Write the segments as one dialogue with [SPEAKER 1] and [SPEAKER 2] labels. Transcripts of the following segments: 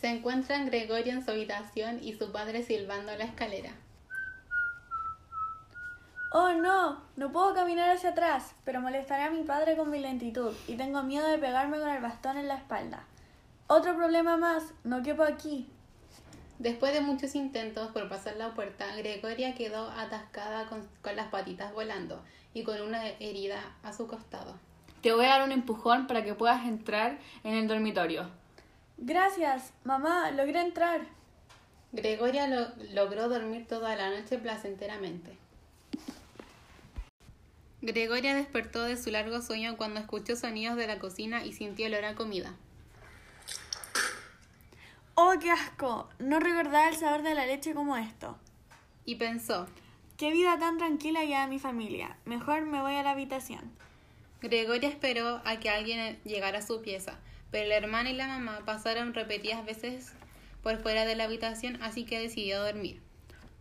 [SPEAKER 1] Se encuentran Gregorio en su habitación y su padre silbando la escalera.
[SPEAKER 2] Oh no, no puedo caminar hacia atrás, pero molestaré a mi padre con mi lentitud y tengo miedo de pegarme con el bastón en la espalda. Otro problema más, no quepo aquí.
[SPEAKER 1] Después de muchos intentos por pasar la puerta, Gregoria quedó atascada con, con las patitas volando y con una herida a su costado.
[SPEAKER 3] Te voy a dar un empujón para que puedas entrar en el dormitorio.
[SPEAKER 2] Gracias, mamá, logré entrar.
[SPEAKER 1] Gregoria lo- logró dormir toda la noche placenteramente. Gregoria despertó de su largo sueño cuando escuchó sonidos de la cocina y sintió olor a comida.
[SPEAKER 2] Oh, qué asco, no recordaba el sabor de la leche como esto.
[SPEAKER 1] Y pensó,
[SPEAKER 2] Qué vida tan tranquila lleva mi familia. Mejor me voy a la habitación.
[SPEAKER 1] Gregoria esperó a que alguien llegara a su pieza, pero la hermana y la mamá pasaron repetidas veces por fuera de la habitación, así que decidió dormir.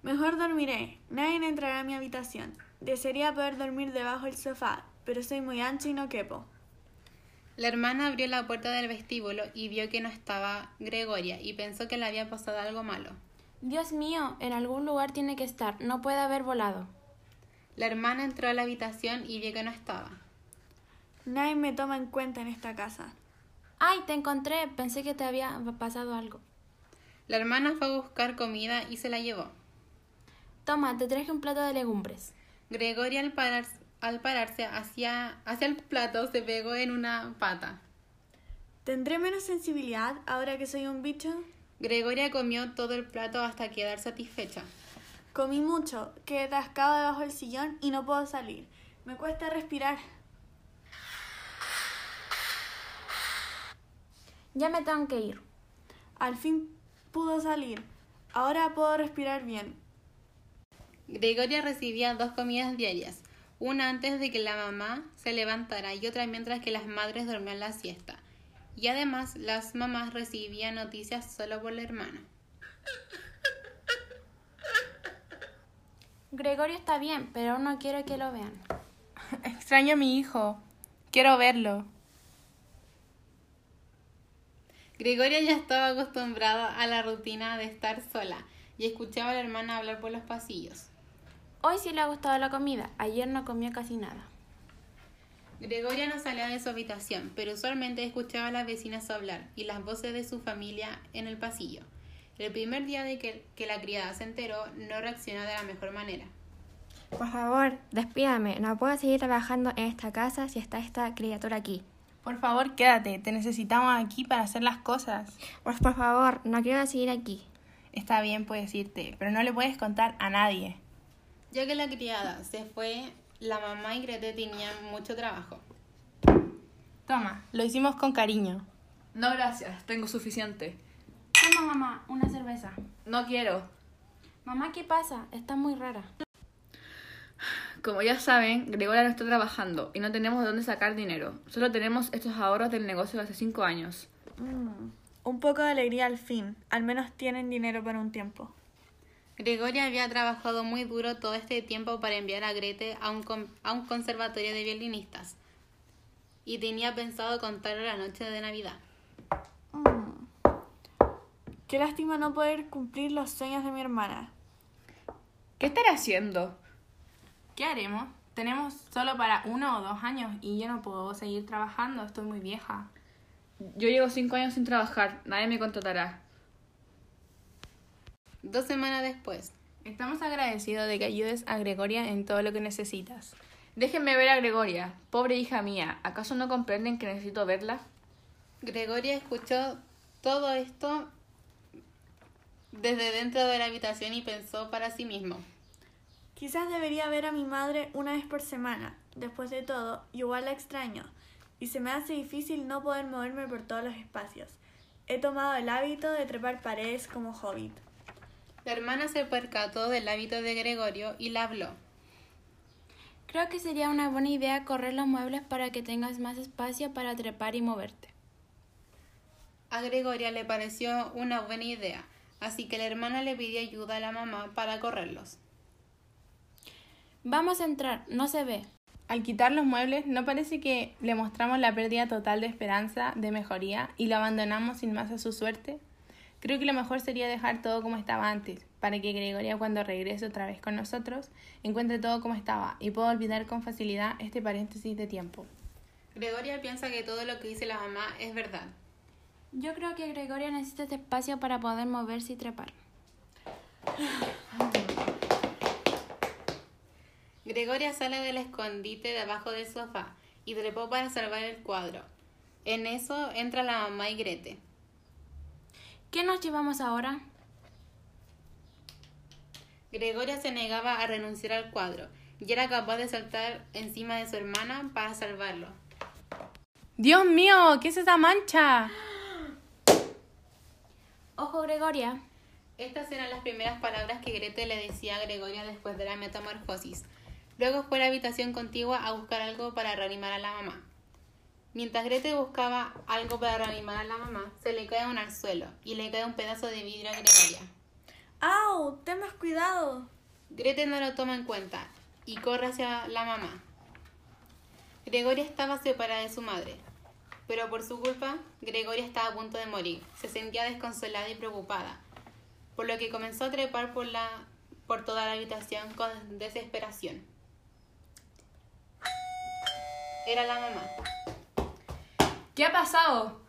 [SPEAKER 2] Mejor dormiré. Nadie entrará a mi habitación. Desearía poder dormir debajo del sofá, pero soy muy ancha y no quepo.
[SPEAKER 1] La hermana abrió la puerta del vestíbulo y vio que no estaba Gregoria y pensó que le había pasado algo malo.
[SPEAKER 4] Dios mío, en algún lugar tiene que estar, no puede haber volado.
[SPEAKER 1] La hermana entró a la habitación y vio que no estaba.
[SPEAKER 2] Nadie me toma en cuenta en esta casa.
[SPEAKER 4] ¡Ay, te encontré! Pensé que te había pasado algo.
[SPEAKER 1] La hermana fue a buscar comida y se la llevó.
[SPEAKER 4] Toma, te traje un plato de legumbres.
[SPEAKER 1] Gregoria al, parar- al pararse hacia, hacia el plato se pegó en una pata.
[SPEAKER 2] ¿Tendré menos sensibilidad ahora que soy un bicho?
[SPEAKER 1] Gregoria comió todo el plato hasta quedar satisfecha.
[SPEAKER 2] Comí mucho, quedé atascado debajo del sillón y no puedo salir. Me cuesta respirar.
[SPEAKER 4] Ya me tengo que ir.
[SPEAKER 2] Al fin pudo salir. Ahora puedo respirar bien.
[SPEAKER 1] Gregoria recibía dos comidas diarias, una antes de que la mamá se levantara y otra mientras que las madres dormían la siesta. Y además las mamás recibían noticias solo por la hermana.
[SPEAKER 4] Gregorio está bien, pero no quiero que lo vean.
[SPEAKER 3] Extraño a mi hijo. Quiero verlo.
[SPEAKER 1] Gregoria ya estaba acostumbrada a la rutina de estar sola y escuchaba a la hermana hablar por los pasillos.
[SPEAKER 4] Hoy sí le ha gustado la comida, ayer no comió casi nada.
[SPEAKER 1] Gregoria no salía de su habitación, pero usualmente escuchaba a las vecinas hablar y las voces de su familia en el pasillo. El primer día de que, que la criada se enteró, no reaccionó de la mejor manera.
[SPEAKER 5] Por favor, despídame. No puedo seguir trabajando en esta casa si está esta criatura aquí.
[SPEAKER 3] Por favor, quédate. Te necesitamos aquí para hacer las cosas.
[SPEAKER 5] Por, Pues, por favor, no quiero seguir aquí.
[SPEAKER 3] Está bien, puedes irte, pero no le puedes contar a nadie.
[SPEAKER 1] Ya que la criada se fue, la mamá y Grete tenían mucho trabajo.
[SPEAKER 3] Toma, lo hicimos con cariño.
[SPEAKER 6] No, gracias, tengo suficiente.
[SPEAKER 4] Toma, mamá, una cerveza.
[SPEAKER 6] No quiero.
[SPEAKER 4] Mamá, ¿qué pasa? Está muy rara.
[SPEAKER 6] Como ya saben, Gregoria no está trabajando y no tenemos de dónde sacar dinero. Solo tenemos estos ahorros del negocio de hace cinco años.
[SPEAKER 2] Un poco de alegría al fin. Al menos tienen dinero para un tiempo.
[SPEAKER 1] Gregoria había trabajado muy duro todo este tiempo para enviar a Grete a un, con- a un conservatorio de violinistas y tenía pensado contarle la noche de Navidad.
[SPEAKER 2] Qué lástima no poder cumplir los sueños de mi hermana.
[SPEAKER 6] ¿Qué estará haciendo?
[SPEAKER 3] ¿Qué haremos? Tenemos solo para uno o dos años y yo no puedo seguir trabajando, estoy muy vieja.
[SPEAKER 6] Yo llevo cinco años sin trabajar, nadie me contratará.
[SPEAKER 1] Dos semanas después,
[SPEAKER 3] Estamos agradecidos de que ayudes a Gregoria en todo lo que necesitas.
[SPEAKER 6] Déjenme ver a Gregoria, pobre hija mía. ¿Acaso no comprenden que necesito verla?
[SPEAKER 1] Gregoria escuchó todo esto desde dentro de la habitación y pensó para sí mismo.
[SPEAKER 2] Quizás debería ver a mi madre una vez por semana. Después de todo, igual la extraño. Y se me hace difícil no poder moverme por todos los espacios. He tomado el hábito de trepar paredes como hobbit.
[SPEAKER 1] La hermana se percató del hábito de Gregorio y la habló.
[SPEAKER 4] Creo que sería una buena idea correr los muebles para que tengas más espacio para trepar y moverte.
[SPEAKER 1] A Gregoria le pareció una buena idea, así que la hermana le pidió ayuda a la mamá para correrlos.
[SPEAKER 4] Vamos a entrar, no se ve.
[SPEAKER 3] Al quitar los muebles, ¿no parece que le mostramos la pérdida total de esperanza, de mejoría, y lo abandonamos sin más a su suerte? Creo que lo mejor sería dejar todo como estaba antes, para que Gregoria cuando regrese otra vez con nosotros encuentre todo como estaba y pueda olvidar con facilidad este paréntesis de tiempo.
[SPEAKER 1] Gregoria piensa que todo lo que dice la mamá es verdad.
[SPEAKER 4] Yo creo que Gregoria necesita este espacio para poder moverse y trepar.
[SPEAKER 1] Gregoria sale del escondite de abajo del sofá y trepó para salvar el cuadro. En eso entra la mamá y Grete.
[SPEAKER 4] ¿Qué nos llevamos ahora?
[SPEAKER 1] Gregoria se negaba a renunciar al cuadro y era capaz de saltar encima de su hermana para salvarlo.
[SPEAKER 3] Dios mío, ¿qué es esa mancha?
[SPEAKER 4] Ojo, Gregoria.
[SPEAKER 1] Estas eran las primeras palabras que Grete le decía a Gregoria después de la metamorfosis. Luego fue a la habitación contigua a buscar algo para reanimar a la mamá. Mientras Grete buscaba algo para reanimar a la mamá, se le cae un al suelo y le cae un pedazo de vidrio a Gregoria.
[SPEAKER 2] ¡Au! Ten más cuidado.
[SPEAKER 1] Grete no lo toma en cuenta y corre hacia la mamá. Gregoria estaba separada de su madre, pero por su culpa, Gregoria estaba a punto de morir. Se sentía desconsolada y preocupada, por lo que comenzó a trepar por, la, por toda la habitación con desesperación. Era la mamá.
[SPEAKER 3] ¿Qué ha pasado?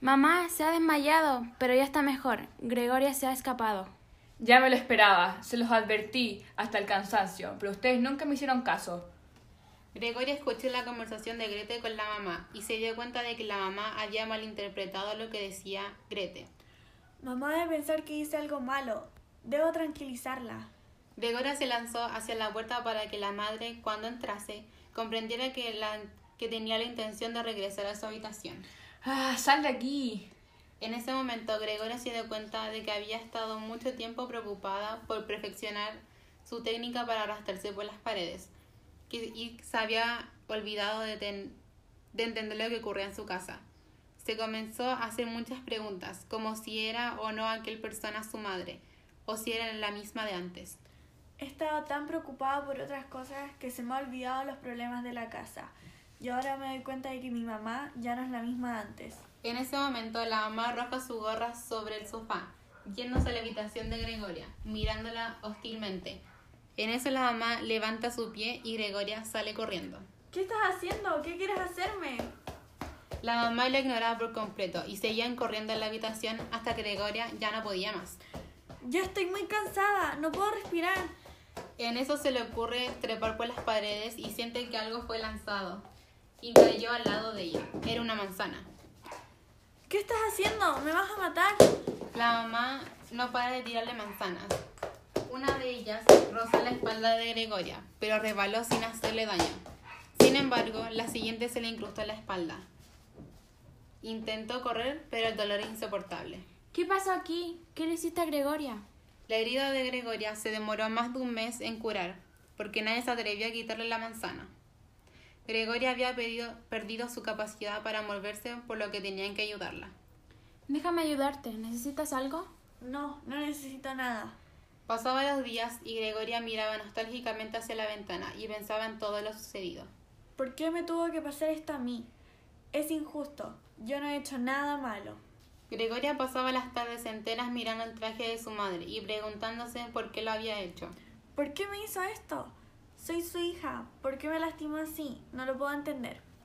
[SPEAKER 4] Mamá se ha desmayado, pero ya está mejor. Gregoria se ha escapado.
[SPEAKER 6] Ya me lo esperaba, se los advertí hasta el cansancio, pero ustedes nunca me hicieron caso.
[SPEAKER 1] Gregoria escuchó la conversación de Grete con la mamá y se dio cuenta de que la mamá había malinterpretado lo que decía Grete.
[SPEAKER 2] Mamá debe pensar que hice algo malo. Debo tranquilizarla.
[SPEAKER 1] Gregoria se lanzó hacia la puerta para que la madre, cuando entrase, comprendiera que, la- que tenía la intención de regresar a su habitación.
[SPEAKER 6] Ah, sal de aquí.
[SPEAKER 1] En ese momento, Gregoria se dio cuenta de que había estado mucho tiempo preocupada por perfeccionar su técnica para arrastrarse por las paredes que- y se había olvidado de, ten- de entender lo que ocurría en su casa. Se comenzó a hacer muchas preguntas, como si era o no aquel persona su madre, o si era la misma de antes.
[SPEAKER 2] He estado tan preocupada por otras cosas que se me ha olvidado los problemas de la casa. Y ahora me doy cuenta de que mi mamá ya no es la misma de antes.
[SPEAKER 1] En ese momento, la mamá arroja su gorra sobre el sofá, yéndose a la habitación de Gregoria, mirándola hostilmente. En eso la mamá levanta su pie y Gregoria sale corriendo.
[SPEAKER 2] ¿Qué estás haciendo? ¿Qué quieres hacerme?
[SPEAKER 1] La mamá la ignoraba por completo y seguían corriendo en la habitación hasta que Gregoria ya no podía más.
[SPEAKER 2] Ya estoy muy cansada, no puedo respirar.
[SPEAKER 1] En eso se le ocurre trepar por las paredes y siente que algo fue lanzado y cayó al lado de ella. Era una manzana.
[SPEAKER 2] ¿Qué estás haciendo? ¿Me vas a matar?
[SPEAKER 1] La mamá no para de tirarle manzanas. Una de ellas rozó la espalda de Gregoria, pero resbaló sin hacerle daño. Sin embargo, la siguiente se le incrustó en la espalda. Intentó correr, pero el dolor era insoportable.
[SPEAKER 4] ¿Qué pasó aquí? ¿Qué le hiciste a Gregoria?
[SPEAKER 1] La herida de Gregoria se demoró más de un mes en curar, porque nadie se atrevió a quitarle la manzana. Gregoria había pedido- perdido su capacidad para moverse, por lo que tenían que ayudarla.
[SPEAKER 4] Déjame ayudarte. ¿Necesitas algo?
[SPEAKER 2] No, no necesito nada.
[SPEAKER 1] Pasaban los días y Gregoria miraba nostálgicamente hacia la ventana y pensaba en todo lo sucedido.
[SPEAKER 2] ¿Por qué me tuvo que pasar esto a mí? Es injusto. Yo no he hecho nada malo.
[SPEAKER 1] Gregoria pasaba las tardes enteras mirando el traje de su madre y preguntándose por qué lo había hecho.
[SPEAKER 2] ¿Por qué me hizo esto? Soy su hija. ¿Por qué me lastimó así? No lo puedo entender.